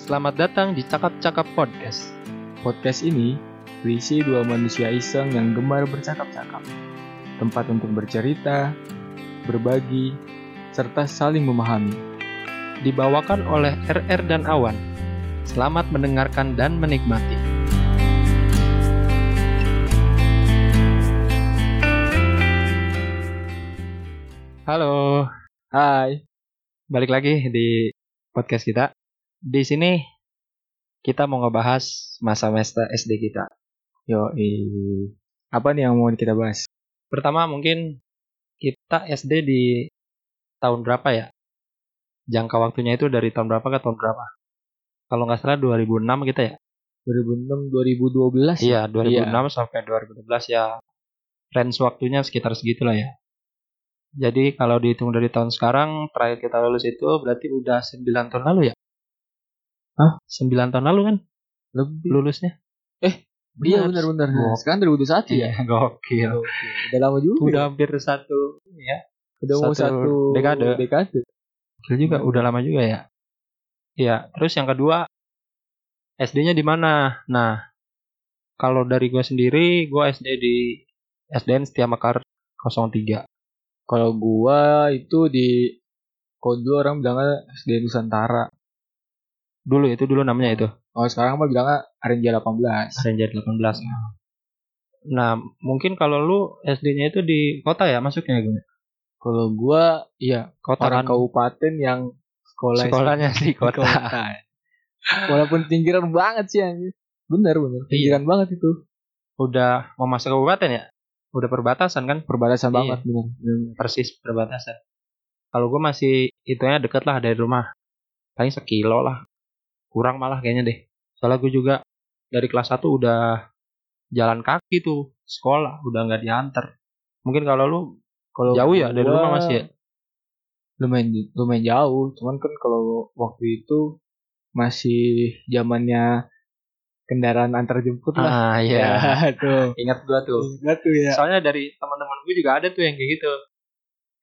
Selamat datang di Cakap-Cakap Podcast. Podcast ini berisi dua manusia iseng yang gemar bercakap-cakap. Tempat untuk bercerita, berbagi, serta saling memahami. Dibawakan oleh RR dan Awan. Selamat mendengarkan dan menikmati. Halo, Hai, balik lagi di podcast kita. Di sini kita mau ngebahas masa semester SD kita. yo Apa nih yang mau kita bahas? Pertama mungkin kita SD di tahun berapa ya? Jangka waktunya itu dari tahun berapa ke tahun berapa? Kalau nggak salah 2006 kita ya? 2006 2012. Iya, 2006 sampai 2012 ya. Range waktunya sekitar segitulah ya. Jadi kalau dihitung dari tahun sekarang, terakhir kita lulus itu berarti udah 9 tahun lalu ya? Hah? 9 tahun lalu kan Lebih. lulusnya? Iya benar-benar. Wow. Sekarang 2021 ya. gokil. Oke, Udah lama juga. ya? Iya. Udah hampir satu ya. udah mau satu satu dekade. dekade. Gokil juga, Hmm. udah lama juga ya. Iya, terus yang kedua SD-nya di mana? Nah, kalau dari gue sendiri, gue SD di SDN Setia Makar 03. Kalau gua itu di kalau dulu orang bilangnya SD Nusantara. Dulu itu dulu namanya itu, Kalau sekarang mah bilangnya RNJ 18. Ranger 18. Nah, mungkin kalau lu SD-nya itu di kota ya masuknya gue. Kalau gua iya Kota orang kan. kabupaten yang sekolah Sekolahnya di di kota. Walaupun pinggiran banget sih anjir. Bener Iya. bener. Pinggiran banget itu. Udah mau masuk kabupaten ya? Udah perbatasan kan? Perbatasan Iya. banget bener. bener. persis perbatasan. Kalau gue masih itunya deket lah dari rumah. Paling sekilo lah. Kurang malah kayaknya deh. Soalnya gue juga dari kelas 1 udah jalan kaki tuh. Sekolah udah nggak diantar. Mungkin kalau lu Kalau jauh ya dari gua- rumah masih ya? lumayan lumayan jauh cuman kan kalau waktu itu masih zamannya kendaraan antar jemput Ah lah iya. tuh Ingat gue tuh. Ingat tuh ya Soalnya dari teman-teman gue juga ada tuh yang kayak gitu.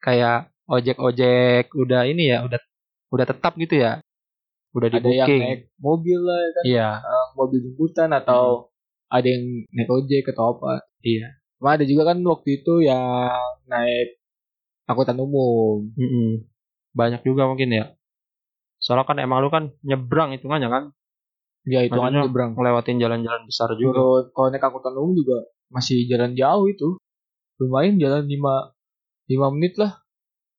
Kayak ojek-ojek udah ini ya, udah udah tetap gitu ya. Udah di ada yang booking. naik mobil lah kan Iya. eh, mobil jemputan atau Hmm. ada yang naik ojek atau apa iya Cuma ada juga kan waktu itu yang naik angkutan umum Mm-mm. Banyak juga mungkin ya. Soalnya kan emang lu kan nyebrang hitungannya kan, ya itu kan Maksudnya nyebrang ngelewatin jalan-jalan besar juga. kalau kalau naik angkutan umum juga masih jalan jauh itu lumayan jalan 5 5 menit lah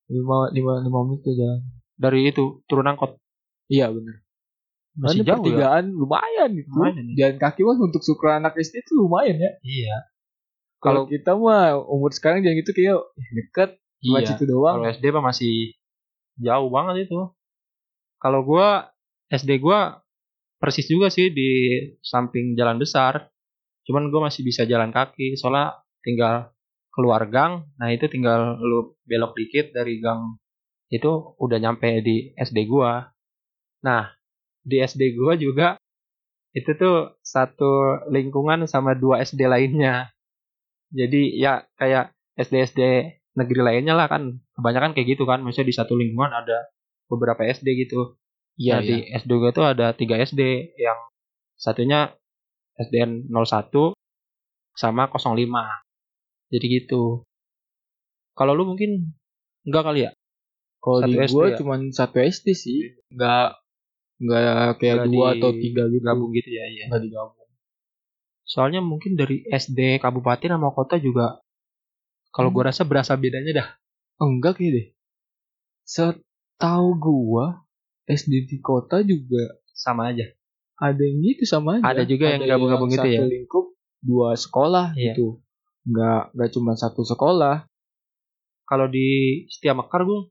5 5 5 menit ya jalan Dari itu turun angkot iya benar Nah, masih jauh ya. Kan pertigaan lumayan itu Lumayan. jalan kaki mah untuk suka anak SD itu lumayan ya Iya. Kalau kalau kita mah umur sekarang jangan gitu kayak ih, deket cuma iya. situ doang Kalau SD mah masih jauh banget itu. Kalau gua SD gua persis juga sih di samping jalan besar. Cuman gua masih bisa jalan kaki soalnya tinggal keluar gang. Nah, itu tinggal lu belok dikit dari gang itu udah nyampe di SD gua. Nah, di SD gua juga itu tuh satu lingkungan sama dua SD lainnya. Jadi ya kayak SD-SD negeri lainnya lah kan. Kebanyakan kayak gitu kan. Maksudnya di satu lingkungan ada beberapa SD gitu. iya nah, di SD gua tuh ada tiga SD yang satunya SDN 01 sama 05. Jadi gitu. Kalau lu mungkin enggak kali ya? kalau di satu SD gua ya? Iya. cuman satu SD sih nggak nggak kayak Nggak dua di- atau tiga gitu Gabung gitu ya, iya. nggak digabung Soalnya mungkin dari SD kabupaten sama kota juga Hmm. kalau gua rasa berasa bedanya dah. enggak kayaknya deh setahu gua SD di kota juga Sama aja. ada yang gitu sama aja. Ada juga yang gabung-gabung gitu ya? Satu lingkup dua sekolah Iya. gitu. Nggak nggak cuma satu sekolah. Kalau di setiap Mekar gue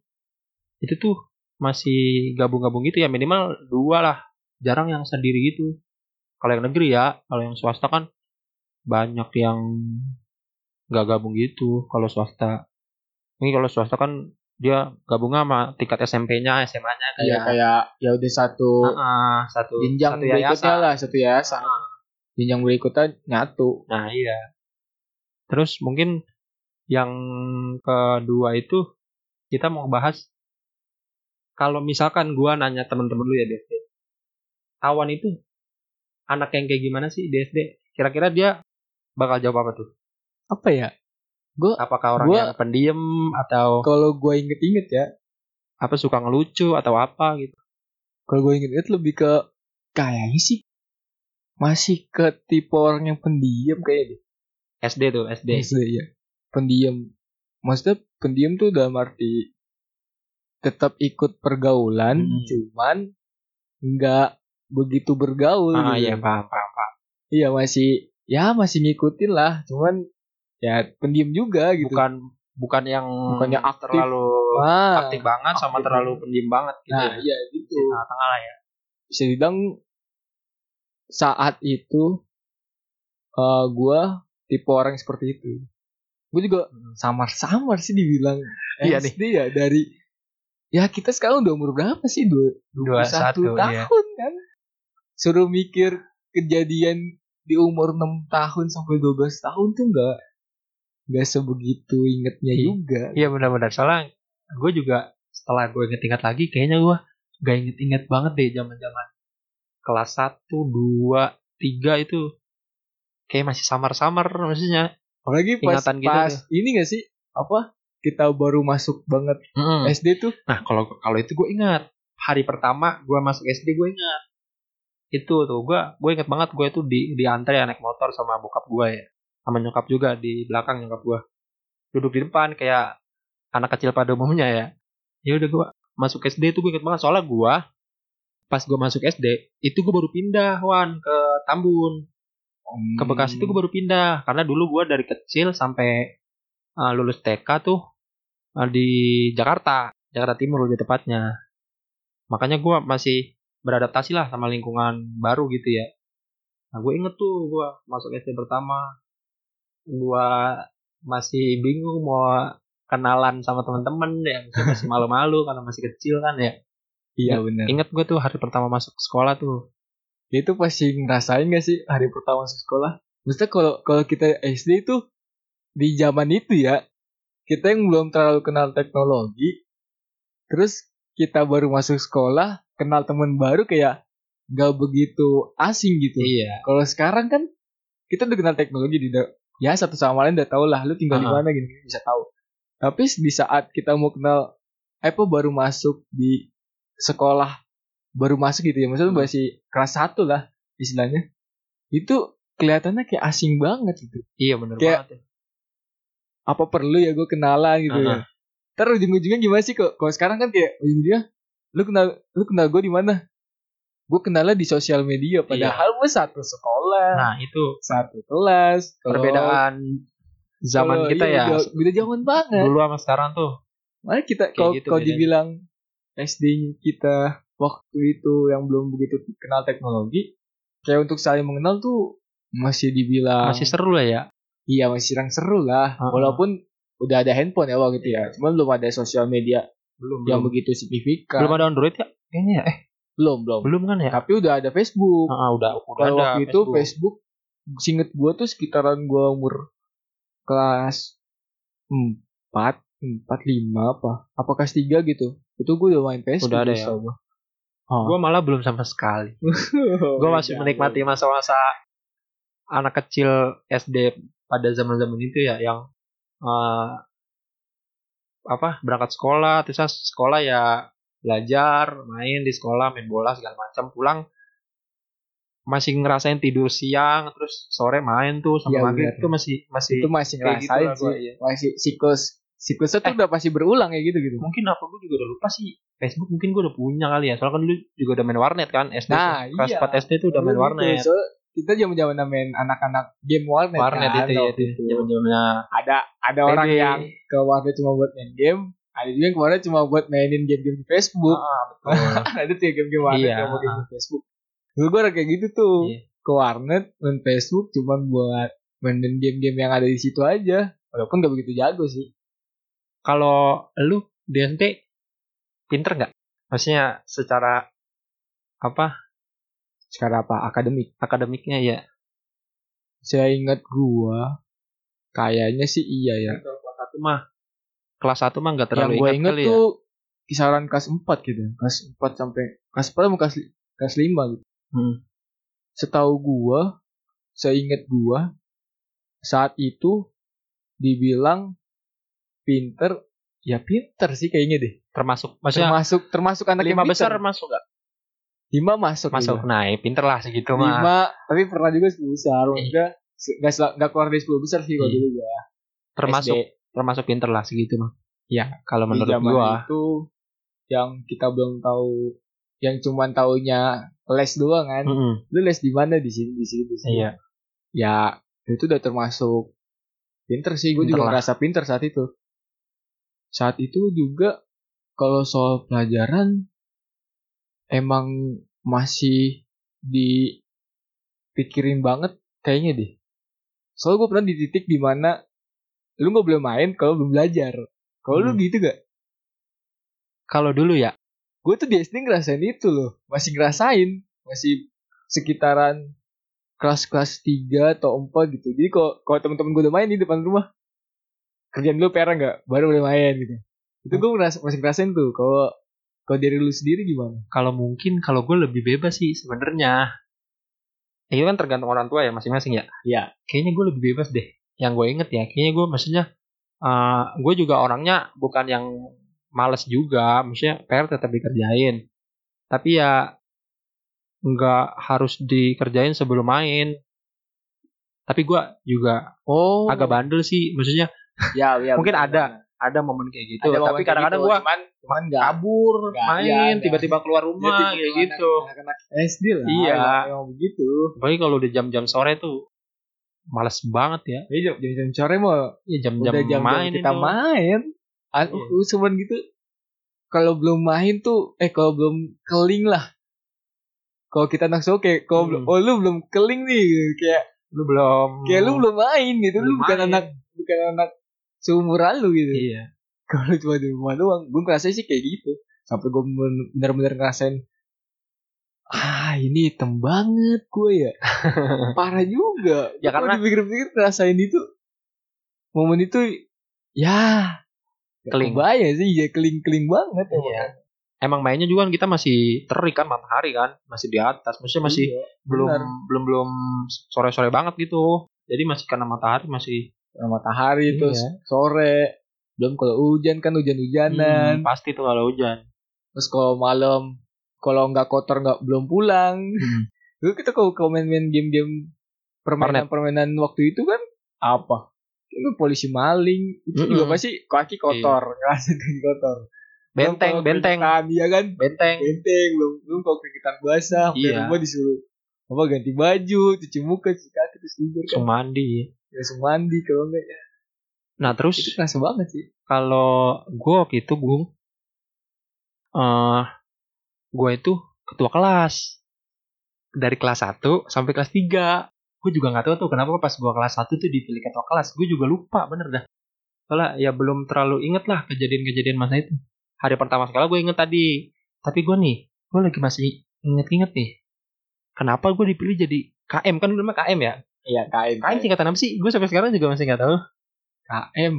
itu tuh masih gabung-gabung gitu ya minimal dua lah. Jarang yang sendiri gitu. Kalau yang negeri ya, kalau yang swasta kan banyak yang nggak gabung gitu kalau swasta. Ini kalau swasta kan dia gabung sama tingkat SMP-nya, SMA-nya Nah, Kayak kayak kayak ya udah satu Ah, satu jenjang satu berikutnya yayasan. lah satu yayasan. Ah. Jenjang berikutnya nyatu. Nah iya. Terus mungkin yang kedua itu kita mau bahas kalau misalkan gua nanya teman-teman lu ya Dev, Awan itu anak yang kayak gimana sih di SD? Kira-kira dia bakal jawab apa tuh? Apa ya? Apakah orang Gua- yang pendiam atau Kalau gue inget-inget ya, apa suka ngelucu atau apa gitu? kalau gue inget-inget lebih ke kayaknya sih masih ke tipe orang yang pendiam kayaknya deh. SD tuh SD. SD, ya. Pendiam. Maksudnya pendiam tuh dalam arti tetap ikut pergaulan, Hmm. cuman nggak begitu bergaul. Ah gitu. iya paham paham paham. Iya masih ya masih ngikutin lah, cuman ya pendiam juga gitu. Bukan bukan yang Bukannya aktif. terlalu Wah. aktif banget sama aktif. terlalu pendiam banget gitu. Ah, Nah, ya. iya gitu. Tengah-tengah lah ya. Bisa dibilang saat itu eh gua tipe orang yang seperti itu. Gue juga samar-samar sih dibilang Iya SD ya dari ya kita sekarang udah umur berapa sih? Dua, 21 21 iya. tahun kan. Suruh mikir kejadian di umur 6 tahun sampai 12 tahun tuh enggak enggak sebegitu ingetnya Iya. juga. Iya benar-benar salah. Gue juga setelah gue inget-inget lagi, kayaknya gue gak inget-inget banget deh zaman-zaman kelas 1, 2, 3 itu kayak masih samar-samar maksudnya. Apalagi pas, Ingatan gitu pas ini gak sih apa kita baru masuk banget Mm-mm. SD tuh Nah kalau kalau itu gue ingat hari pertama gue masuk SD gue ingat itu tuh gue gue inget banget gue itu di diantre naik motor sama bokap gue ya sama nyokap juga di belakang nyokap gue duduk di depan kayak anak kecil pada umumnya ya ya udah gue masuk SD itu gue inget banget soalnya gue pas gue masuk SD itu gue baru pindah Wan ke Tambun ke Bekasi itu gue baru pindah karena dulu gue dari kecil sampai uh, lulus TK tuh uh, di Jakarta Jakarta Timur lebih tepatnya makanya gue masih beradaptasi lah sama lingkungan baru gitu ya nah gue inget tuh gue masuk SD pertama gue masih bingung mau kenalan sama teman-teman ya masih malu-malu karena masih kecil kan ya Iya benar. inget gue tuh hari pertama masuk sekolah tuh Itu pasti ngerasain gak sih hari pertama masuk sekolah? Maksudnya kalau kalau kita SD itu di zaman itu ya, kita yang belum terlalu kenal teknologi, terus kita baru masuk sekolah, kenal teman baru kayak gak begitu asing gitu. iya Kalau sekarang kan kita udah kenal teknologi di ya satu sama lain udah tau lah lu tinggal di Ah. mana gini, gini bisa tahu. Tapi di saat kita mau kenal apa baru masuk di sekolah baru masuk gitu ya maksudnya Hmm. masih kelas satu lah istilahnya itu kelihatannya kayak asing banget gitu iya iya. bener Kayak- banget ya. apa perlu ya gue kenalan gitu ya terus ujung-ujungnya gimana sih kok kalau sekarang kan kayak ujung-ujungnya lu kenal lu kenal gue di mana gue kenalnya di sosial media padahal gue satu sekolah nah itu satu kelas Kalau- perbedaan zaman kalau- Eh. kita iya, ya beda- beda zaman banget dulu sama sekarang tuh makanya kita kalau gitu kalau bedanya. dibilang SD kita waktu itu yang belum begitu kenal teknologi kayak untuk saling mengenal tuh masih dibilang masih seru lah ya iya masih serang seru lah Heeh. walaupun udah ada handphone ya waktu itu ya cuman belum ada sosial media belum yang belum, begitu Ya, signifikan belum ada android ya kayaknya ya. eh belum belum belum kan ya tapi udah ada Facebook Ah, udah udah kalau ada waktu itu Facebook singet gua tuh sekitaran gua umur kelas 4 empat lima apa apa kelas tiga gitu itu gua udah main Facebook Udah ada ya? setahu gua. gue malah belum sama sekali Iya, gue masih menikmati masa-masa anak kecil SD pada zaman-zaman itu ya yang eh, apa berangkat sekolah terus habis sekolah ya belajar main di sekolah main bola segala macam pulang masih ngerasain tidur siang terus sore main tuh Iya, sama maghrib bener. itu masih masih itu masih kayak gitu ngerasain lah sih gua, iya. Eh. masih siklus siklusnya tuh udah pasti berulang ya gitu gitu mungkin apa gue juga udah lupa sih Facebook mungkin gue udah punya kali ya soalnya kan dulu juga udah main warnet kan SD Nah, kelas iya. 4 SD tuh udah main Gitu. warnet So, kita zaman zaman main anak-anak game warnet, warnet kan, itu ya waktu itu. zaman-zamannya ada ada orang PB. yang ke warnet cuma buat main game ada juga yang ke warnet cuma buat mainin game-game di Facebook Ah, betul. ada tuh ya game-game warnet Iya. yang mau game Facebook. Dulu gue kayak gitu tuh. Iya. Ke warnet, main Facebook cuman buat mainin game-game yang ada di situ aja. Walaupun gak begitu jago sih. Kalau lu DNT pinter nggak? Maksudnya secara apa Sekarang apa? Akademik. akademiknya ya? Saya ingat gua kayaknya sih iya ya. Kelas satu mah kelas satu mah nggak yang terlalu gue ingat inget kali ya? tuh kisaran kelas 4 gitu. Kelas 4 sampai kelas 4 sama kelas, li- kelas 5 gitu. Hmm. setahu gua, seinget gua, saat itu dibilang pinter, ya pinter sih kayaknya deh. Termasuk maksudnya Termasuk termasuk anak lima yang pinter. besar masuk Iya. gak? lima masuk, Masuk. juga. Nah, ya pinter lah segitu mah. lima, tapi pernah juga sepuluh besar, enggak nggak sel- nggak keluar dari sepuluh besar sih kalau Iya. dulu gua. Termasuk SD. termasuk pinter lah segitu mah. Ya, kalau Di menurut zaman gua. itu yang kita belum tahu, yang cuman taunya les doang kan. Mm-mm. Lu les di mana di sini di sini di sini. Iya. ya itu udah termasuk pinter sih gue Pinter juga lah. ngerasa pinter saat itu saat itu juga kalau soal pelajaran emang masih dipikirin banget kayaknya deh soalnya gue pernah di titik di mana lu nggak boleh main kalau belum belajar kalau lu Hmm. gitu gak Kalau dulu ya, gue tuh di SD ngerasain itu loh masih ngerasain masih sekitaran kelas-kelas 3 atau 4 gitu jadi kalau kalau teman-teman gue udah main di depan rumah kerjaan dulu PR nggak baru boleh main gitu itu gue ngeras- masih ngerasain tuh kalau kalau dari lu sendiri gimana kalau mungkin kalau gue lebih bebas sih sebenarnya. Ya, itu kan tergantung orang tua ya masing-masing ya. Iya. Kayaknya gue lebih bebas deh. Yang gue inget ya, kayaknya gue maksudnya eh gue juga orangnya bukan yang males juga, maksudnya PR tetap dikerjain. Tapi ya nggak harus dikerjain sebelum main. Tapi gue juga oh agak bandel sih, maksudnya ya, ya Mungkin bener, ada bener. ada momen kayak gitu. Ada momen Tapi kayak kadang-kadang gitu, gue cuman cuman nggak kabur, Nggak, iya, main, nggak. tiba-tiba keba keluar Dia rumah tipe-tipe kayak anak- gitu. anak-anak SD lah Iya. emang- emang begitu Apalagi kalau udah jam-jam sore tuh males banget ya. iya jam jam sore mau Ya jam jam-jam udah jam, main kita itu. main A- Iya. usulan gitu kalau belum main tuh eh kalau belum keling lah kalau kita anak oke Hmm. kalau belum oh lu belum keling nih gitu. kayak Lu belum. kayak lu belum main gitu lu Belum bukan main. anak bukan anak seumuran lu gitu Iya. kalau cuma di rumah doang gue ngerasain sih kayak gitu sampai gue bener-bener ngerasain ah ini hitam banget gue ya parah juga Ya, Kalau karena- dipikir-pikir ngerasain itu momen itu ya gak Keling. kebayang sih ya keling-keling banget ya Iya. Emang mainnya juga kan kita masih terik kan matahari kan, masih di atas, maksudnya masih belum Iya, benar. belum belum sore-sore banget gitu. Jadi masih kena matahari masih Nah, matahari Iya. terus sore belum kalau hujan kan Hmm, hujan-hujanan pasti tuh kalau hujan. terus kalau malam kalau nggak kotor nggak belum pulang Dulu kita kalau kalau main-main game-game permainan-permainan waktu itu kan apa? Itu polisi maling, itu juga Mm-mm. pasti kaki kotor, ngerasain kaki kotor. Benteng, Belum kalau benteng, kreditan, Iya kan? benteng. Benteng belum belum kalau keringetan basah, sampai Iya. rumah disuruh apa ganti baju, cuci muka, cuci kaki terus tidur kan. Langsung mandi. Langsung mandi kalau enggak ya. Nah, terus Itu kerasa banget sih. kalau gue waktu itu gue eh gue itu ketua kelas dari kelas 1 sampai kelas 3 gue juga nggak tahu tuh kenapa pas gue kelas 1 tuh dipilih ketua kelas gue juga lupa bener dah soalnya ya belum terlalu inget lah kejadian-kejadian masa itu hari pertama sekolah gue inget tadi tapi gue nih gue lagi masih inget-inget nih kenapa gue dipilih jadi KM kan dulu mah KM ya Iya, KM. KM singkatan apa sih gue sampai sekarang juga masih nggak tahu KM.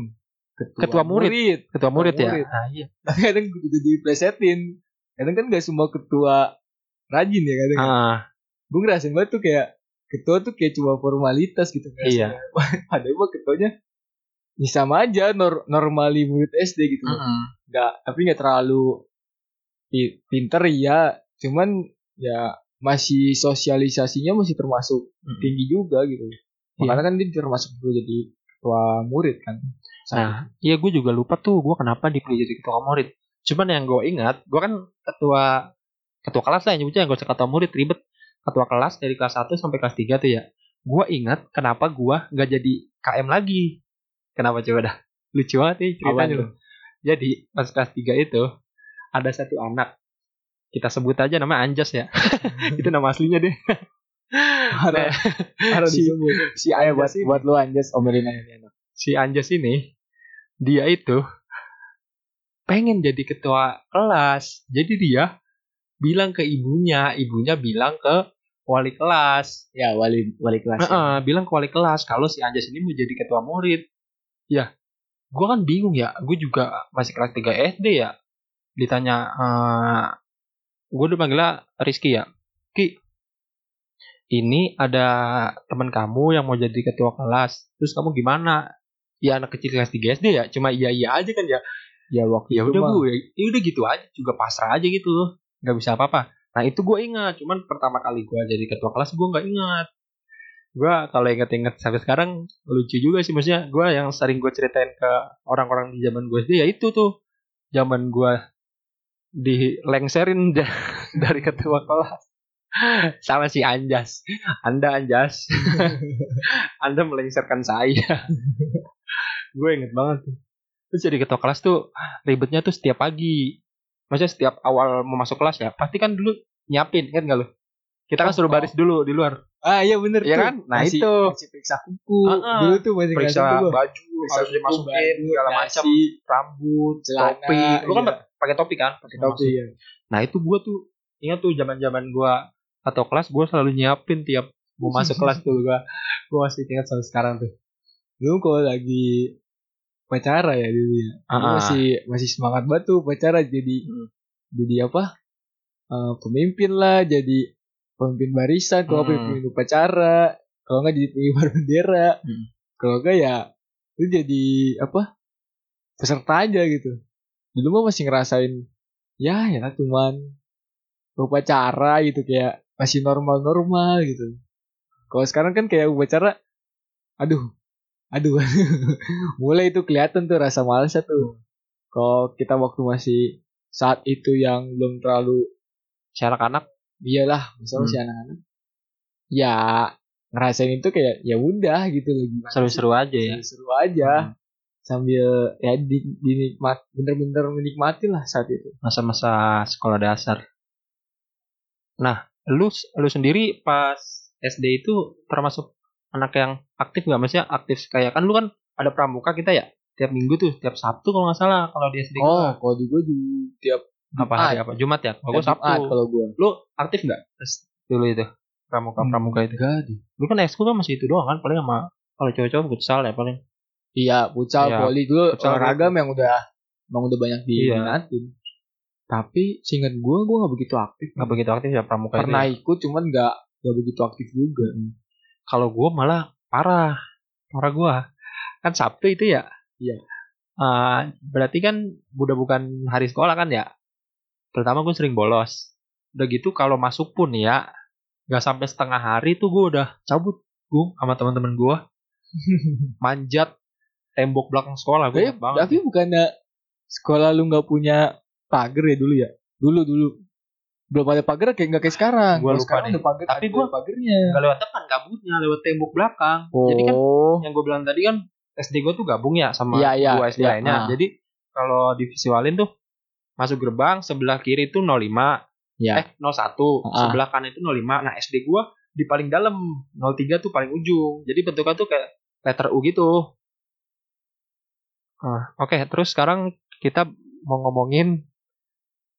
Ketua, Ketua murid. ketua murid, murid. ya nah, iya Tapi kadang juga diplesetin. Kadang kan gak semua ketua rajin ya kadang. Ah, gue ngerasain banget tuh kayak ketua tuh kayak cuma formalitas gitu Iya. Padahal padahal mah ketuanya ya sama aja nor normali murid SD gitu Mm-mm. nggak tapi nggak terlalu pi- pinter ya cuman ya masih sosialisasinya masih termasuk Hmm. tinggi juga gitu Iya. makanya kan dia termasuk dulu jadi ketua murid kan Nah, iya gue juga lupa tuh gue kenapa dipilih jadi ketua murid. Cuman yang gue ingat, gue kan ketua ketua kelas lah nyebutnya yang gue ketua murid ribet. Ketua kelas dari kelas 1 sampai kelas 3 tuh ya. Gue ingat kenapa gue nggak jadi KM lagi. Kenapa coba dah? Lucu banget nih ceritanya. Apaan loh. Jadi pas kelas 3 itu ada satu anak kita sebut aja namanya Anjas ya. itu nama aslinya deh. parah Nah. parah si- disebut Iya Si ayo buat ini. buat lu anjas omelin aja nih anak si Anjas ini dia itu pengen jadi ketua kelas. Jadi dia bilang ke ibunya, ibunya bilang ke wali kelas. ya wali wali kelas Heeh, bilang ke wali kelas kalau si Anjas ini mau jadi ketua murid. Ya, gua kan bingung ya. Gue juga masih kelas 3 SD ya. Ditanya eh gue udah panggilnya Rizky ya. Ki, ini ada teman kamu yang mau jadi ketua kelas terus kamu gimana ya anak kecil kelas 3 SD ya cuma iya iya aja kan ya ya waktu ya itu udah mah. bu ya, ya udah gitu aja juga pasrah aja gitu loh nggak bisa apa-apa nah itu gue ingat cuman pertama kali gue jadi ketua kelas gue nggak ingat gue kalau inget-inget sampai sekarang lucu juga sih maksudnya gue yang sering gue ceritain ke orang-orang di zaman gue SD ya itu tuh zaman gue dilengserin da- dari ketua kelas sama si Anjas Anda Anjas Anda melengserkan saya gue inget banget tuh terus jadi ketua kelas tuh ribetnya tuh setiap pagi. Maksudnya setiap awal mau masuk kelas ya, pasti kan dulu nyiapin, kan gak lu? Kita kan Oh, suruh baris dulu di luar. ah iya bener Iya tuh. kan? Nah, Masih- itu. masih periksa kuku Ah, ah. dulu tuh masih Periksa ngasih tuh, gua. baju, Periksa harus kuku, dimasukin baju, segala dasi, macam, rambut, celana, topi. Lu kan iya. pakai topi kan? Pakai topi ya Nah, itu gua tuh ingat tuh zaman-zaman gua atau kelas gua selalu nyiapin tiap mau masuk kelas tuh gua. Gua masih ingat sampai sekarang tuh. lu kalau lagi pacara ya dulu ya Lu Ah, ah. masih masih semangat banget tuh pacara jadi jadi apa Eh pemimpin lah jadi pemimpin barisan Hmm. kalau nggak pemimpin upacara kalau nggak jadi pengibar bendera Hmm. kalau nggak ya lu jadi apa peserta aja gitu dulu mah masih ngerasain ya ya lah cuman upacara gitu kayak masih normal-normal gitu kalau sekarang kan kayak upacara aduh aduh mulai itu kelihatan tuh rasa malesnya Hmm. tuh kalau kita waktu masih saat itu yang belum terlalu Si anak-anak iyalah Iya misalnya Hmm. si anak-anak ya ngerasain itu kayak ya udah gitu loh gimana seru-seru aja sih? ya. seru aja sambil ya di- dinikmat bener-bener menikmati lah saat itu masa-masa sekolah dasar. Nah, lu lu sendiri pas SD itu termasuk anak yang aktif nggak maksudnya aktif kayak kan lu kan ada pramuka kita ya tiap minggu tuh tiap Sabtu kalau nggak salah kalau di SD oh kalau di gue di tiap gua. apa hari apa Jumat ya kalau gua tiap Sabtu Jumat kalau gue lu aktif nggak pas dulu itu pramuka Hmm. pramuka itu enggak di lu kan ekskul kan masih itu doang kan paling sama kalau cowok-cowok futsal ya paling iya futsal Iya, voli dulu futsal, olahraga yang udah emang udah banyak Iya. diminatin tapi seingat gue gue nggak begitu aktif nggak begitu aktif ya pramuka itu Hmm. pernah ya. ikut cuman nggak nggak begitu aktif juga kalau gue malah parah parah gue kan Sabtu itu ya Iya. Eh, berarti kan udah bukan hari sekolah kan ya terutama gue sering bolos udah gitu kalau masuk pun ya nggak sampai setengah hari tuh gue udah cabut gue sama teman-teman gue manjat tembok belakang sekolah gue Eh, ingat banget tapi bukannya sekolah lu nggak punya pagar ya dulu ya? Dulu dulu belum ada pagar kayak nggak kayak sekarang. Gua Kalau lupa sekarang deh. ada pagar, Tapi ada gua- pagarnya. nggak lewat depan kabutnya lewat tembok belakang jadi kan Oh, yang gue bilang tadi kan SD gue tuh gabung ya sama Iya, iya, dua SD iya, lainnya. ah. Jadi kalau divisualin tuh masuk gerbang sebelah kiri itu 05, Iya. eh 01, Ah. sebelah kanan itu 05. Nah, SD gue di paling dalam, 03 tuh paling ujung. Jadi bentuknya tuh kayak letter U gitu. Ah, oke, terus sekarang kita mau ngomongin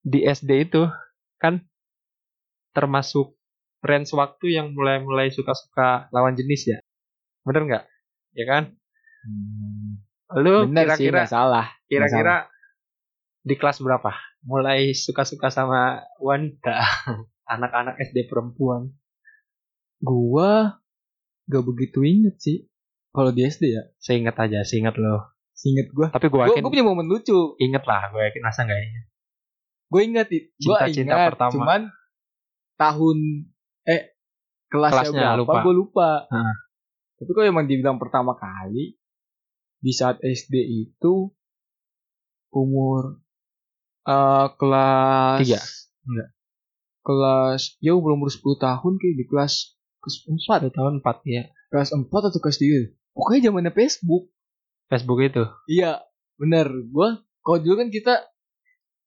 di SD itu kan termasuk range waktu yang mulai-mulai suka-suka lawan jenis ya. Bener nggak? Ya kan? Lu Hmm. bener sih kira-kira nggak salah. kira-kira di kelas berapa? Mulai suka-suka sama wanita, anak-anak SD perempuan. Gua nggak begitu inget sih. Kalau di SD ya, Seingat aja, seingat lo. seinget gua. Tapi gue Gua, yakin gua punya momen lucu. inget lah, gue yakin masa nggak inget. Gue inget itu. Gua Cinta-cinta ingat. pertama. Cuman tahun eh kelasnya, Kelasnya, berapa lupa. gue lupa. Heeh. Tapi kalau emang dibilang pertama kali di saat SD itu umur eh kelas Tiga? Enggak. Kelas ya belum umur 10 tahun kayak di kelas kelas 4 Satu tahun empat ya. kelas 4 atau kelas 3. Pokoknya zamannya Facebook. Facebook itu. Iya, bener. Gua kalau dulu kan kita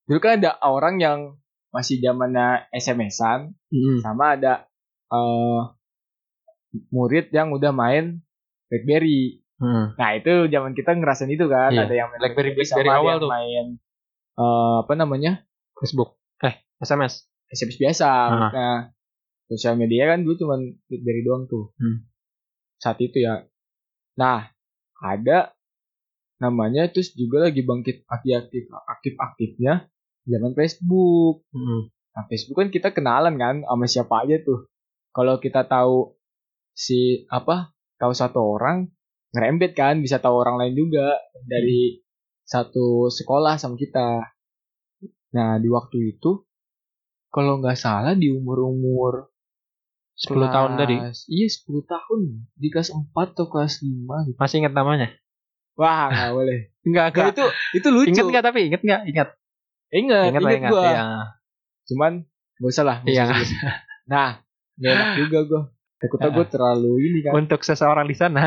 dulu kan ada orang yang masih zamannya SMS-an sama ada eh murid yang udah main BlackBerry. Hmm. Nah, itu zaman kita ngerasain itu kan, Iya. ada yang main BlackBerry- sama BlackBerry ada awal yang tuh. main eh, apa namanya? Facebook. Eh, SMS. SMS biasa. Ah. Nah, sosial media kan dulu cuman BlackBerry doang tuh. Hmm. Saat itu ya. Nah, ada namanya terus juga lagi bangkit aktif aktif aktifnya zaman Facebook. Nah, Facebook kan kita kenalan kan sama siapa aja tuh. kalau kita tahu si apa tahu satu orang ngerembet kan bisa tahu orang lain juga dari satu sekolah sama kita nah di waktu itu kalau nggak salah di umur umur 10 tahun tadi. Kelas- Iya 10 tahun. Di kelas 4 atau kelas 5 gitu. Masih ingat namanya? Wah, gak boleh. Enggak, Nah, itu itu lucu. Ingat enggak tapi ingat enggak? Ingat. Ingat, Ingat lah ingat ingat. gua. Iya. Cuman gak usah lah. Iya. Nah, gak enak juga gua. Takutnya gua terlalu ini kan. Untuk seseorang di sana.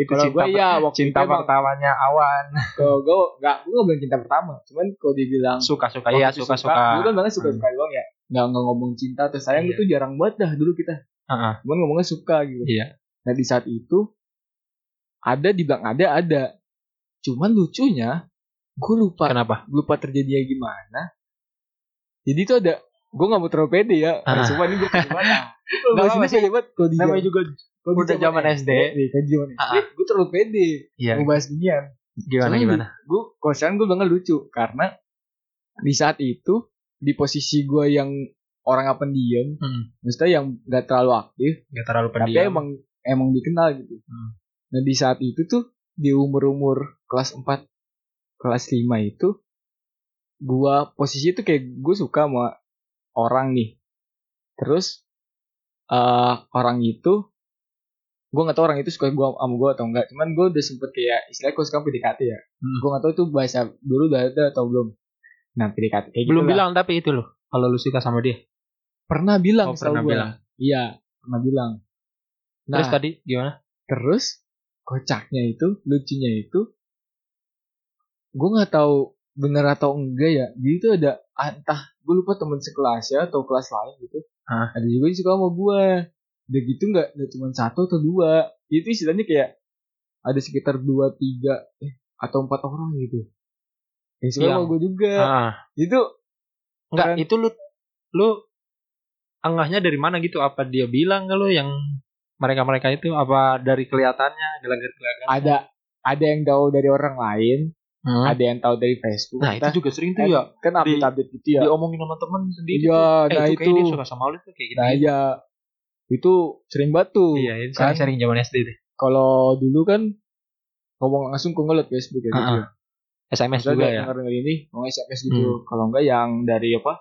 iya, itu Kalau cinta, gua ya waktu cinta itu emang- pertamanya Awan. Kalau gua gak gua gak bilang cinta pertama. Cuman kalau dibilang Suka-suka ya, waktu itu suka-suka. Hmm. Gua kan banget suka-suka doang ya. Gak, nggak ngomong cinta atau sayang Iya. itu jarang banget dah dulu kita. Heeh. Cuman ngomongnya suka gitu. Iya. Nah di saat itu ada dibilang ada ada. Cuman lucunya gue lupa Kenapa? lupa terjadinya gimana. Jadi itu ada gue gak mau terlalu pede ya. Ah. Nah, Sumpah ini gue pede banget. Gue Nggak apa-apa sih. banget kalau di Namanya juga kalau di udah zaman SD. Iya, kan zaman Ah. SD. Gue terlalu pede. Iya. Mau bahas ginian. Gimana gimana? Gue kalau sekarang gue bakal lucu karena di saat itu di posisi gue yang orang apa pendiam, Hmm. maksudnya yang gak terlalu aktif, Gak terlalu tapi pendiam. emang emang dikenal gitu. Iya. Hmm. Nah di saat itu tuh di umur-umur kelas 4 kelas 5 itu gua posisi itu kayak gue suka sama orang nih. Terus eh orang itu gue gak tau orang itu suka gua sama gue atau enggak. Cuman gue udah sempet kayak istilahnya gue suka PDKT ya. Hmm. Gue gak tau itu bahasa dulu udah ada atau belum. Nah PDKT kayak Belum gitu lah. bilang tapi itu loh. Kalau lu suka sama dia. Pernah Oh, bilang pernah setahu gua. bilang. Iya pernah bilang. Nah, Terus tadi gimana? Terus kocaknya itu, lucunya itu, gue nggak tahu bener atau enggak ya. Jadi itu ada ah, entah gue lupa temen sekelas ya atau kelas lain gitu. Hah? Ada juga yang suka sama gue. Udah gitu nggak, nggak cuma satu atau dua. Itu istilahnya kayak ada sekitar dua tiga eh, atau empat orang gitu. Yang suka Hilang. sama gue juga. Heeh. Itu Enggak, Keren. Ah, itu lu lu angahnya dari mana gitu? Apa dia bilang kalau yang mereka-mereka itu apa dari kelihatannya, gelagat-gelagat? ada ada yang tahu dari orang lain, ada yang tahu dari Facebook. Nah, itu juga sering tuh kan, ya. Iya. kan update-update gitu ya. Diomongin sama temen sendiri. Iya, tuh. Eh, nah itu, itu. kayaknya dia suka sama lu tuh kayak gitu. Nah iya itu sering batu. Iya, itu kan? sering-sering zaman SD deh. Kalau dulu kan ngomong langsung ke ngeliat Facebook ya gitu. Heeh. SMS Misalnya juga kayak ya. Hmm. Denger ini ngomong SMS gitu. Kalau enggak yang dari apa?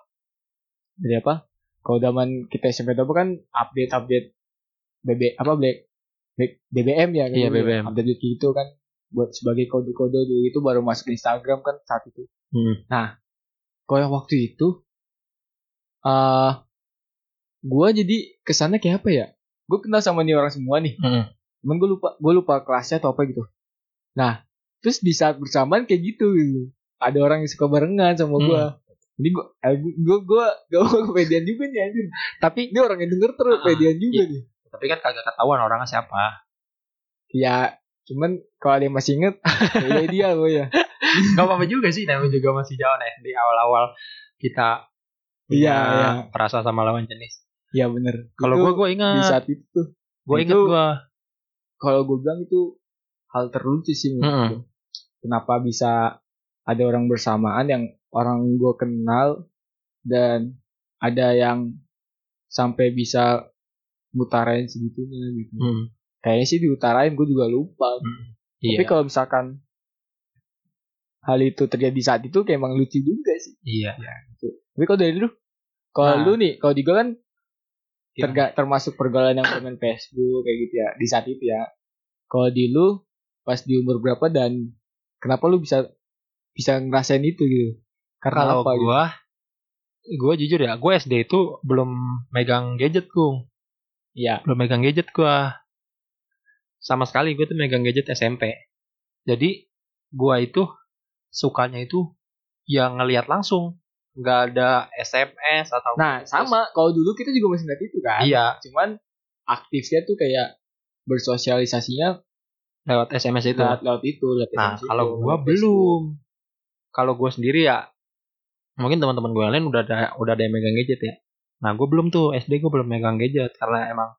Dari apa? Kalau zaman kita SMP dulu kan update-update BB apa Black, Black BBM ya Iya, gitu. BBM. Update gitu kan buat sebagai kode-kode dulu itu baru masuk Instagram kan saat itu. Hmm. Kalau yang waktu itu eh gua jadi kesannya kayak apa ya? Gue kenal sama nih orang semua nih. Heeh. Cuman gue lupa gue lupa kelasnya atau apa gitu. Nah, terus di saat bersamaan kayak gitu, gitu. ada orang yang suka barengan sama Hmm. gue. Jadi eh, gue gue gue gak mau kepedean juga nih anjir. Tapi Ini orang yang denger terus Ah, kepedean juga nih. tapi kan kagak ketahuan orangnya siapa. Ya, cuman kalau ada yang masih inget, ya dia gue ya. Gak apa-apa juga sih, namanya juga masih zaman SD awal-awal kita Iya, ya, iya. terasa sama lawan jenis. Ya bener. Kalau ah. Itu gue gue di ingat, saat itu tuh, gue ingat itu- gue. kalau gue bilang itu hal terlucu sih. menurut Mm-mm. gue. Kenapa bisa ada orang bersamaan yang orang gue kenal dan ada yang sampai bisa mutarain segitunya gitu. Hmm. kayaknya sih diutarain gue juga lupa Iya. tapi kalau misalkan hal itu terjadi saat itu kayak emang lucu juga sih iya. tapi kalau dari lu kalau Nah. lu nih kalau di gue kan Iya. terga- termasuk pergaulan yang main Facebook kayak gitu ya di saat itu ya kalau di lu pas di umur berapa dan kenapa lu bisa bisa ngerasain itu gitu karena kalau apa gitu gua gua jujur ya gua SD itu belum megang gadget gua ya belum megang gadget gua sama sekali gua tuh megang gadget SMP jadi gua itu sukanya itu yang ngelihat langsung nggak ada SMS atau nah sama kalau dulu kita juga masih ngeliat itu kan iya cuman aktifnya tuh kayak bersosialisasinya lewat SMS itu lewat lewat itu lewat nah SMS itu, kalau gua gitu. lewat Facebook. belum kalau gua sendiri ya mungkin teman-teman gue lain udah ada udah ada yang megang gadget ya nah gue belum tuh SD gue belum megang gadget karena emang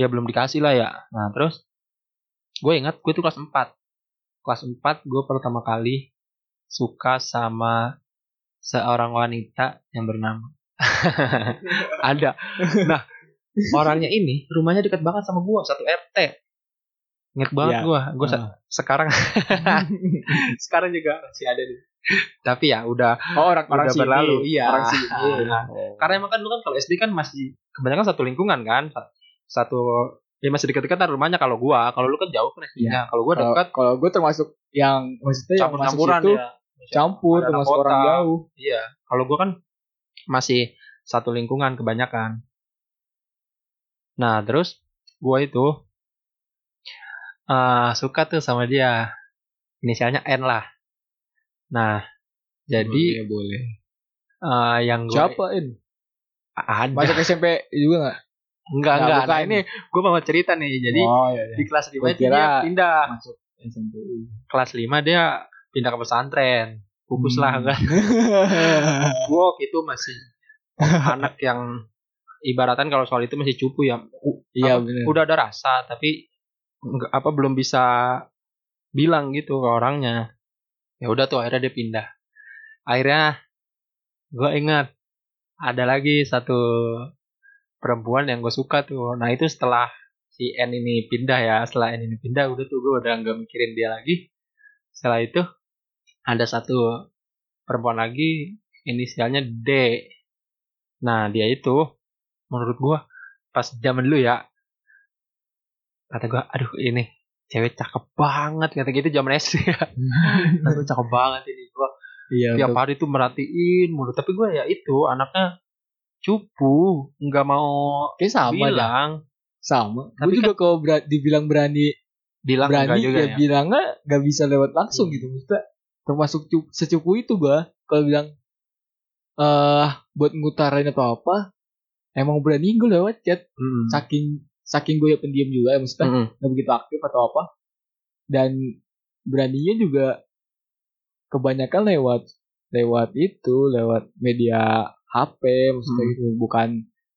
ya belum dikasih lah ya nah terus gue ingat gue tuh kelas 4 kelas 4 gue pertama kali suka sama seorang wanita yang bernama ada nah orangnya ini rumahnya dekat banget sama gua satu RT inget banget Iya. gua gua se- sekarang sekarang juga masih ada nih tapi ya udah oh orang Udah sini. berlalu, iya. orang sini Oh. Ah. karena emang kan lu kan kalau SD kan masih kebanyakan satu lingkungan kan satu ya masih dekat-dekatan rumahnya kalau gua kalau lu kan jauh kan SD-nya kalau gua Iya. Kalau- dekat kalau gue termasuk yang maksudnya yang masuk campur-campuran situ, ya campur Ada anak termasuk orang kota. jauh Iya, kalau gue kan masih satu lingkungan kebanyakan. Nah, terus gue itu eh suka tuh sama dia. Inisialnya N lah. Nah, jadi Boleh, boleh eh, yang gue Oh, iya. siapa ini ada masuk SMP juga nggak enggak Nah, enggak. bukan. Nah, ini gue mau cerita nih. Jadi oh iya, iya. di kelas 5 itu dia kira- pindah. masuk SMP Kelas 5 dia pindah ke pesantren. Fokus lah kan. Hmm. enggak. gue waktu itu masih anak yang ibaratan kalau soal itu masih cupu ya U- iya apa, benar udah ada rasa tapi nggak- apa belum bisa bilang gitu ke orangnya ya udah tuh akhirnya dia pindah akhirnya gue ingat ada lagi satu perempuan yang gue suka tuh nah itu setelah si N ini pindah ya setelah N ini pindah udah tuh gue udah nggak mikirin dia lagi setelah itu ada satu perempuan lagi inisialnya D nah dia itu menurut gue pas zaman dulu ya kata gue aduh ini cewek cakep banget kata gitu zaman SD ya Kata gua, cakep banget ini gue iya tiap untuk- hari tuh merhatiin mulu tapi gue ya itu anaknya cupu nggak mau Kayaknya sama dah bilang sama Tapi gue juga kalau bera- dibilang berani bilang berani enggak juga ya, ya, bilangnya nggak bisa lewat langsung Hmm. gitu maksudnya termasuk cu- secupu itu gua kalau bilang eh buat ngutarain atau apa emang berani gue lewat chat Mm. saking saking gue ya pendiam juga ya maksudnya Mm-mm. nggak begitu aktif atau apa dan beraninya juga kebanyakan lewat lewat itu lewat media HP maksudnya Hmm. gitu bukan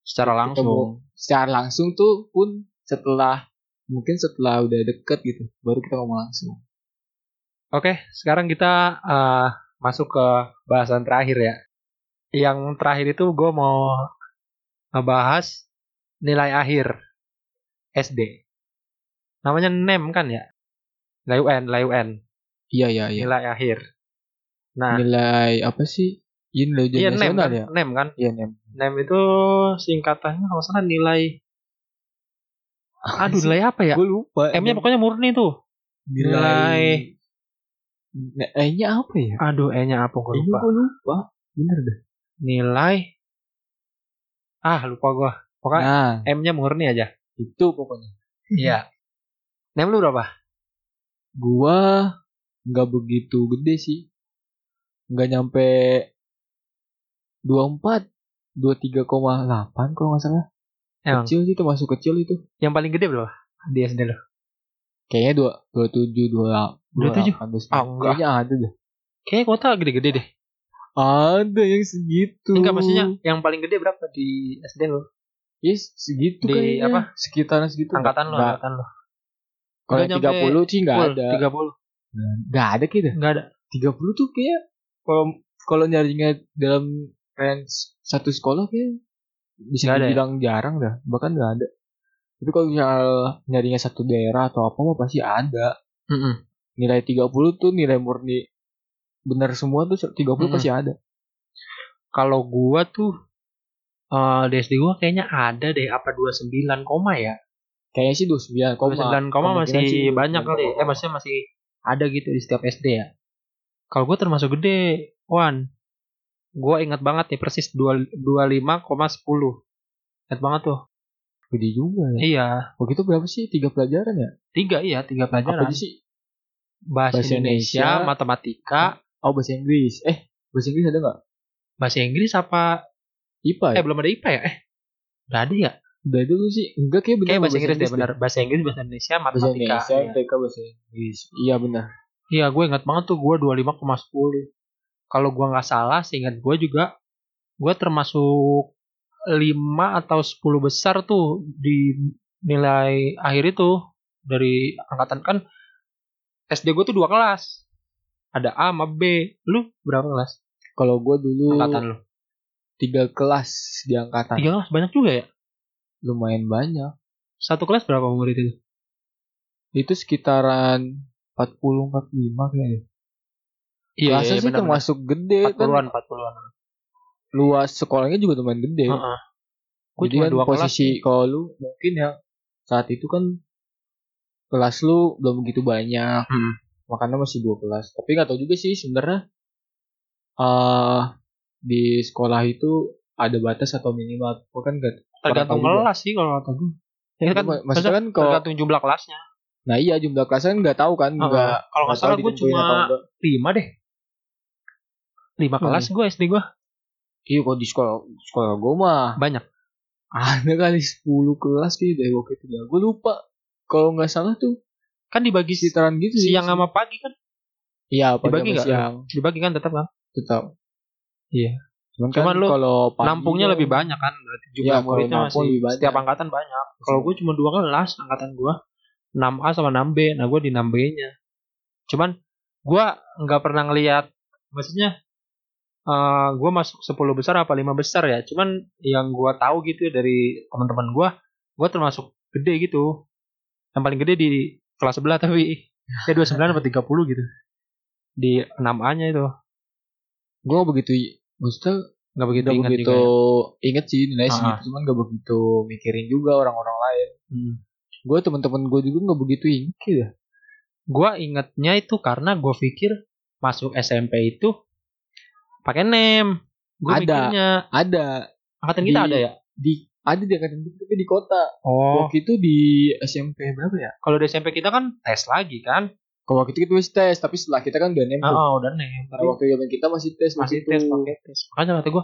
secara ketemu langsung secara langsung tuh pun setelah mungkin setelah udah deket gitu baru kita ngomong langsung oke sekarang kita eh, masuk ke bahasan terakhir ya yang terakhir itu gue mau ngebahas nilai akhir SD namanya NEM kan ya nilai UN nilai UN Iya iya iya. nilai akhir. Nah, Nilai apa sih? Iya nilai ujian iya NEM nasional kan? ya. NEM kan? Iya nem. NEM itu singkatannya kalau salah nilai Aduh, nilai apa ya? Gue lupa. M-nya pokoknya murni tuh. nilai- Nilai- E-nya apa ya? Aduh, E-nya apa gue E-nya lupa. gue lupa. Bener dah. Nilai Ah, lupa gua. Pokoknya Nah M-nya murni aja. itu pokoknya. Iya. NEM lu berapa? Gua nggak begitu gede sih. Nggak nyampe 24 23,8 kalau nggak salah. Emang Kecil sih termasuk kecil itu. yang paling gede berapa? Di SD lu. Kayaknya dua dua tujuh dua 27? Ah, enggak. Kayaknya ada deh. Kayaknya kota gede-gede deh. Ada yang segitu. Enggak maksudnya yang paling gede berapa di SD lu? Iya segitu Di kayaknya. apa? Sekitaran segitu. Angkatan lu, Nggak- angkatan lu. Kalau Udah yang nyampe 30 sih nggak Full, ada. 30. Nggak ada kayaknya. Enggak ada. 30 tuh kayak kalau kalau nyarinya dalam range satu sekolah kayak bisa Nggak ada ya? dibilang jarang dah. Bahkan nggak ada. Tapi kalau misal nyarinya satu daerah atau apa mah pasti ada. Mm-mm. Nilai 30 tuh nilai murni benar semua tuh 30 Mm-mm. pasti ada. kalau gua tuh eh di SD gua kayaknya ada deh apa 29 koma ya. Kayaknya sih 29 koma. 29 koma masih Kemungkinan sih banyak 29 kali. Eh maksudnya masih ada gitu di setiap SD ya. Kalau gua termasuk gede, Wan. Gua ingat banget nih persis dua- 25,10. Ingat banget tuh. Gede juga ya. Iya, Begitu berapa sih? Tiga pelajaran ya? tiga iya, tiga Apa pelajaran. aja sih? Bahasa, Bahasa Indonesia, Indonesia, matematika, Oh bahasa Inggris. Eh bahasa Inggris ada nggak? bahasa Inggris apa IPA ya? eh belum ada IPA ya? Eh. Udah ada Iya, ya? Udah dulu sih. Enggak kayak bener Kayak bahasa Inggris deh benar. Bahasa Inggris, bahasa Indonesia, Bahasa matematika. Indonesia, iya. TK bahasa Inggris. Iya benar. Iya, gue ingat banget tuh gue 25,10. Kalau gue nggak salah, seingat gue juga, gue termasuk 5 atau 10 besar tuh di nilai akhir itu. Dari angkatan kan, SD gue tuh dua kelas. Ada A sama B. Lu berapa kelas Kalau gua dulu angkatan lu? tiga kelas di angkatan Tiga kelas banyak juga ya. lumayan banyak Satu kelas berapa murid itu? itu sekitaran 40 45 kayaknya kelasnya sih termasuk gede Iya, empat kan an empat an luas sekolahnya juga lumayan gede Gue Jadi cuma kan dua posisi kelas. kalau lu mungkin ya saat itu kan kelas lu belum begitu banyak Hmm. makanya masih dua kelas tapi nggak tahu juga sih sebenarnya eh di sekolah itu ada batas atau minimal Gua kan nggak Tergantung Kurang tahu kelas sih kalau kata gue. Ya kan, Maksudnya maksudnya kan kalau- tergantung jumlah kelasnya. nah iya jumlah kelasnya kan nggak tahu kan Heeh. nggak Kalau nggak nggak tahu salah gue ditentuin cuma atau enggak. lima deh. Lima Hmm. kelas gue SD gue iya kalau di sekolah sekolah gue mah banyak. ada kali 10 kelas sih dari waktu itu ya gue lupa kalau nggak salah tuh Kan dibagi sekitaran gitu sih siang sama pagi kan? iya pagi dibagi sama nggak? siang Dibagi kan tetap kan? tetap Iya. cuman, Cuman kan lu kalau pagi Nampungnya kan- lebih banyak kan? Berarti jumlah Iya, kalau muridnya nampung masih lebih banyak. setiap angkatan banyak. Kalau gue cuma dua kelas angkatan gue 6A sama 6B. Nah gue di 6B-nya. Cuman gue nggak pernah ngelihat maksudnya eh gue masuk 10 besar apa 5 besar ya. Cuman yang gue tahu gitu dari teman-teman gue, gue termasuk gede gitu. Yang paling gede di kelas sebelah tapi ya kayak 29 atau 30 gitu. Di 6A-nya itu. gue nggak begitu maksudnya Nggak begitu nggak ingat begitu juga ya. inget sih nilai Ah. segitu cuman nggak begitu mikirin juga orang-orang lain Hmm. gue teman-teman gue juga nggak begitu inget ya gua ingetnya itu karena gue pikir masuk SMP itu pakai name gue Ada. mikirnya ada angkatan Di- kita ada ya di ada di angkatan kita tapi di kota oh waktu itu di SMP berapa ya kalau di SMP kita kan tes lagi kan kalau waktu itu kita masih tes tapi setelah kita kan oh, udah nempel oh, udah name Nah, waktu zaman kita masih tes masih waktu tes itu. pakai tes makanya kata gue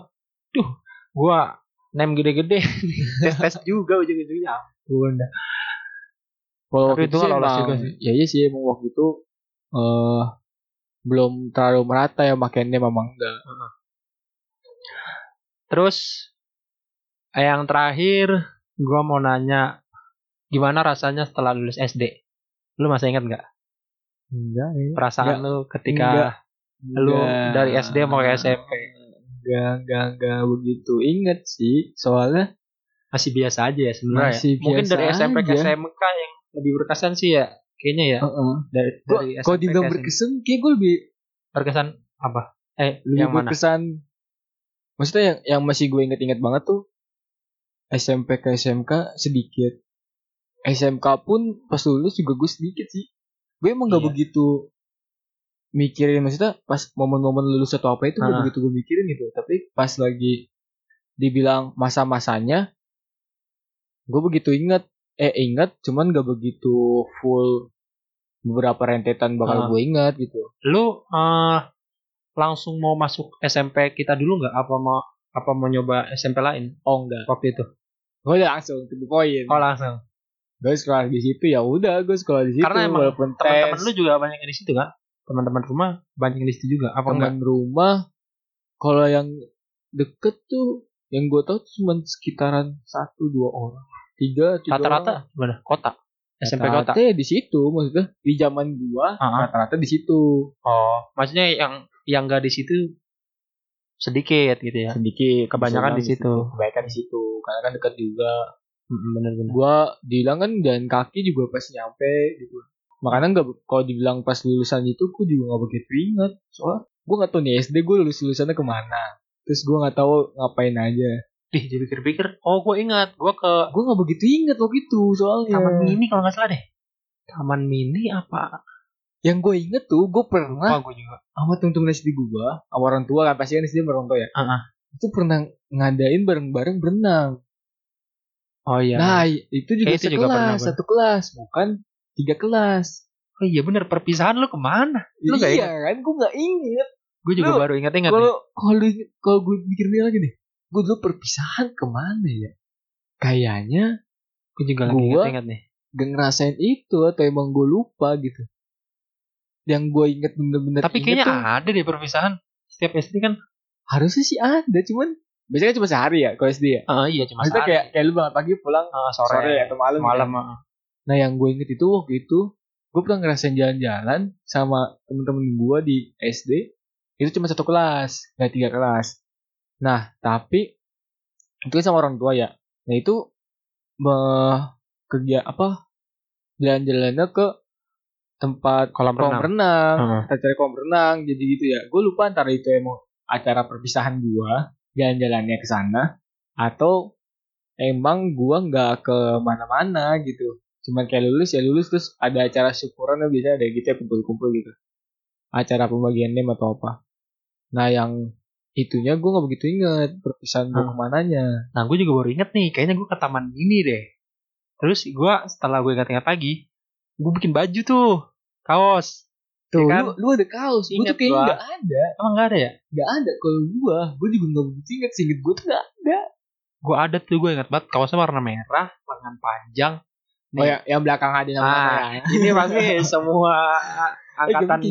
duh gue name gede-gede tes tes juga ujung-ujungnya ampun dah. Kalau Tapi waktu itu itu nggak lolos emang, juga sih. ya iya sih emang waktu itu eh belum terlalu merata ya makanya memang enggak. terus eh, yang terakhir gua mau nanya gimana rasanya setelah lulus SD lu masih ingat nggak Enggak ya. perasaan lu ketika Enggak. iya. lu dari SD mau ke SMP Enggak, enggak, enggak begitu inget sih. Soalnya masih biasa aja ya sebenarnya Masih ya. mungkin biasa dari SMP ke aja. SMK yang lebih berkesan sih ya kayaknya ya heeh. dari Gua- dari Kalau SMP dibilang ke SMK. berkesan, kayak gue lebih berkesan apa eh lebih yang mana berkesan. Maksudnya yang yang masih gue inget-inget banget tuh SMP ke SMK sedikit. SMK pun pas lulus juga gue sedikit sih. Gue emang gak Iya. begitu mikirin maksudnya pas momen-momen lulus atau apa itu Ah. gak begitu gue mikirin gitu. Tapi pas lagi dibilang masa-masanya gue begitu inget eh inget cuman gak begitu full beberapa rentetan Ah. bakal gue inget gitu. lu eh, langsung mau masuk SMP kita dulu nggak apa mau apa mau nyoba SMP lain Oh enggak. waktu itu Gue udah langsung to the point. oh langsung gue sekolah di situ ya udah gue sekolah di situ Karena emang walaupun teman-teman tes lu juga banyak yang di situ kan teman-teman rumah banyak yang di situ juga apa enggak teman rumah kalau yang deket tuh yang gue tau cuma sekitaran satu dua orang tiga tiga orang. rata-rata gimana kota SMP kota Rata-rata ya di situ maksudnya di zaman gua Ah, ah. rata-rata di situ Oh, maksudnya yang yang nggak di situ sedikit gitu ya. sedikit Kebanyakan misalnya di situ. kebanyakan di situ karena kan dekat juga Bener-bener. gua dibilang kan jalan kaki juga pas nyampe gitu makanya nggak kalau dibilang pas lulusan itu gue juga nggak begitu inget soalnya gue nggak tahu nih SD gue lulus lulusannya kemana terus gue nggak tahu ngapain aja Ih, dipikir-pikir, oh gue ingat, gue ke gue nggak begitu inget waktu itu soalnya Taman Mini kalau nggak salah deh. Iya. Taman Mini apa? yang gue inget tuh gue pernah Wah, gue juga. sama temen-temen SD gue sama orang tua kan pasti kan SD sama orang tua ya Heeh. itu pernah ngadain bareng-bareng berenang Oh iya. nah itu juga Kayak itu sekelas juga pernah gua. satu kelas bukan tiga kelas oh iya bener, perpisahan lu kemana? Lu nggak iya kan gue nggak inget Gue juga Lu- baru ingat-ingat nih. kalau kalau kalau gue mikirnya lagi nih gue dulu perpisahan kemana ya kayaknya Gue juga lagi gua- ingat-ingat nih. gak ngerasain itu atau emang gue lupa gitu yang gue inget bener-bener Tapi inget kayaknya tuh, ada deh perpisahan. Setiap SD kan, harusnya sih ada cuman biasanya cuma sehari ya kalau SD ya ah iya cuma maksudnya sehari. kayak kayak lu banget pagi pulang Ah, sore, sore, atau malam malam. ya. ah. nah yang gue inget itu waktu itu gue pernah ngerasain jalan-jalan sama temen-temen gue di SD itu cuma satu kelas nggak tiga kelas Nah, tapi itu sama orang tua ya. Nah, itu me- kerja apa? Jalan-jalannya ke tempat Kolam kolam renang. renang, Heeh. acara kolam renang, jadi gitu ya. Gue lupa antara itu emang acara perpisahan gua jalan-jalannya ke sana atau emang gua nggak ke mana-mana gitu. Cuman kayak lulus ya lulus terus ada acara syukuran ya biasanya ada gitu ya kumpul-kumpul gitu. Acara pembagian name atau apa. Nah yang itunya gue nggak begitu inget perpisahan gue Hmm. kemananya. Nah, gue juga baru inget nih, kayaknya gue ke taman ini deh. Terus gue setelah gue ingat-ingat lagi, gue bikin baju tuh, kaos. Tuh, Ya kan? lu, lu ada kaos, gue Ingat tuh kayaknya gua. nggak ada, Emang gak ada ya? nggak ada. Kalau gue, gue juga nggak begitu inget, singkat gue tuh nggak ada. Gue ada tuh, gue inget banget, kaosnya warna merah, lengan panjang. Nih. Oh ya, yang belakang ada nama Ah, ini pasti semua angkatan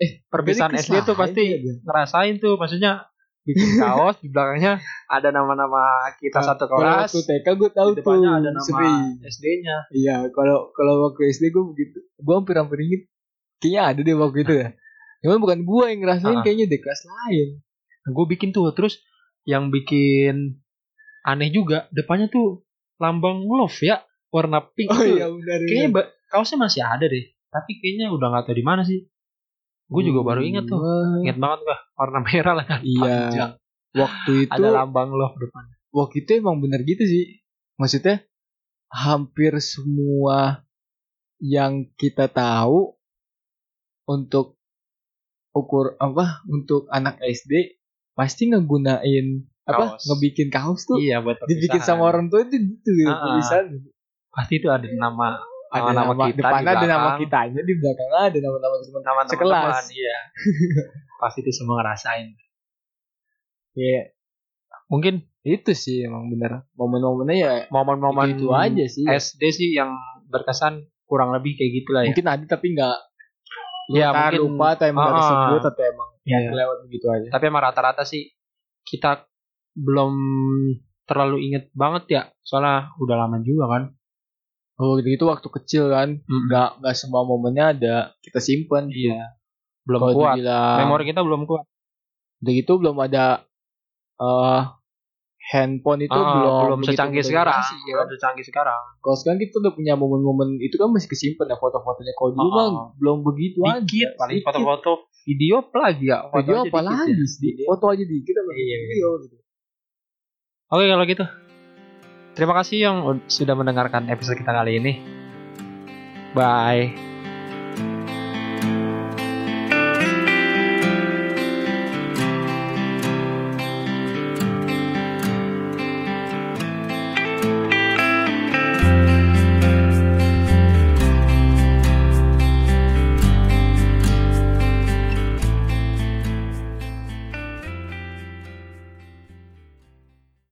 eh, perpisahan SD tuh pasti ngerasain tuh, maksudnya bikin kaos di belakangnya ada nama-nama kita Nah, satu Kalau kelas. waktu TK gue tahu Di tuh, depannya ada nama sering. SD-nya. Iya, kalau kalau waktu SD gue begitu, gue hampir-hampir inget, kayaknya ada deh waktu itu ya. Cuman bukan gue yang ngerasain, Ah. kayaknya di kelas lain. gue Nah, bikin tuh, terus yang bikin aneh juga, depannya tuh lambang love ya, warna pink Oh tuh. iya benar. kayaknya ba- kaosnya masih ada deh tapi kayaknya udah nggak tahu di mana sih gue juga baru ingat tuh ingat banget gua warna merah lah kan Hmm. Iya. panjang. Waktu itu ada lambang love depan waktu itu emang bener gitu sih. Maksudnya hampir semua yang kita tahu untuk ukur apa untuk anak SD pasti ngegunain apa Kaos. ngebikin kaos tuh iya buat dibikin sama orang tua itu gitu gitu Ah, ah. tulisan. pasti itu ada nama ada Nama-nama nama, kita kan. di depan ada nama belakang. kitanya di belakang ada nama-nama teman nama teman Sekelas. iya pasti itu semua ngerasain ya mungkin Iya. itu sih emang bener momen-momennya ya momen-momen itu aja sih SD sih yang berkesan kurang lebih kayak gitulah ya mungkin ada tapi nggak ya Entah lupa atau emang gak Ah, ah. tersebut atau emang Iya. lewat begitu aja. tapi emang rata-rata sih kita belum terlalu inget banget ya soalnya udah lama juga kan Oh gitu, gitu waktu kecil kan, nggak nggak semua momennya ada kita simpen. iya belum Kalau kuat dibilang- memori kita belum kuat Udah gitu belum ada eh handphone itu Ah, belum belum begitu secanggih mudah sekarang dikasih, ya kan? belum secanggih sekarang Kalau sekarang kita udah punya momen-momen itu kan masih kesimpan ya foto-fotonya. Kalau dulu Ah, mah belum begitu aja. dikit Iya, paling Iya, sedikit. foto-foto video lagi ya foto Video aja apa dikit lagi ya. sedikit. Foto aja dikit apa Iya, iya. video gitu. oke kalau gitu terima kasih yang ud- sudah mendengarkan episode kita kali ini bye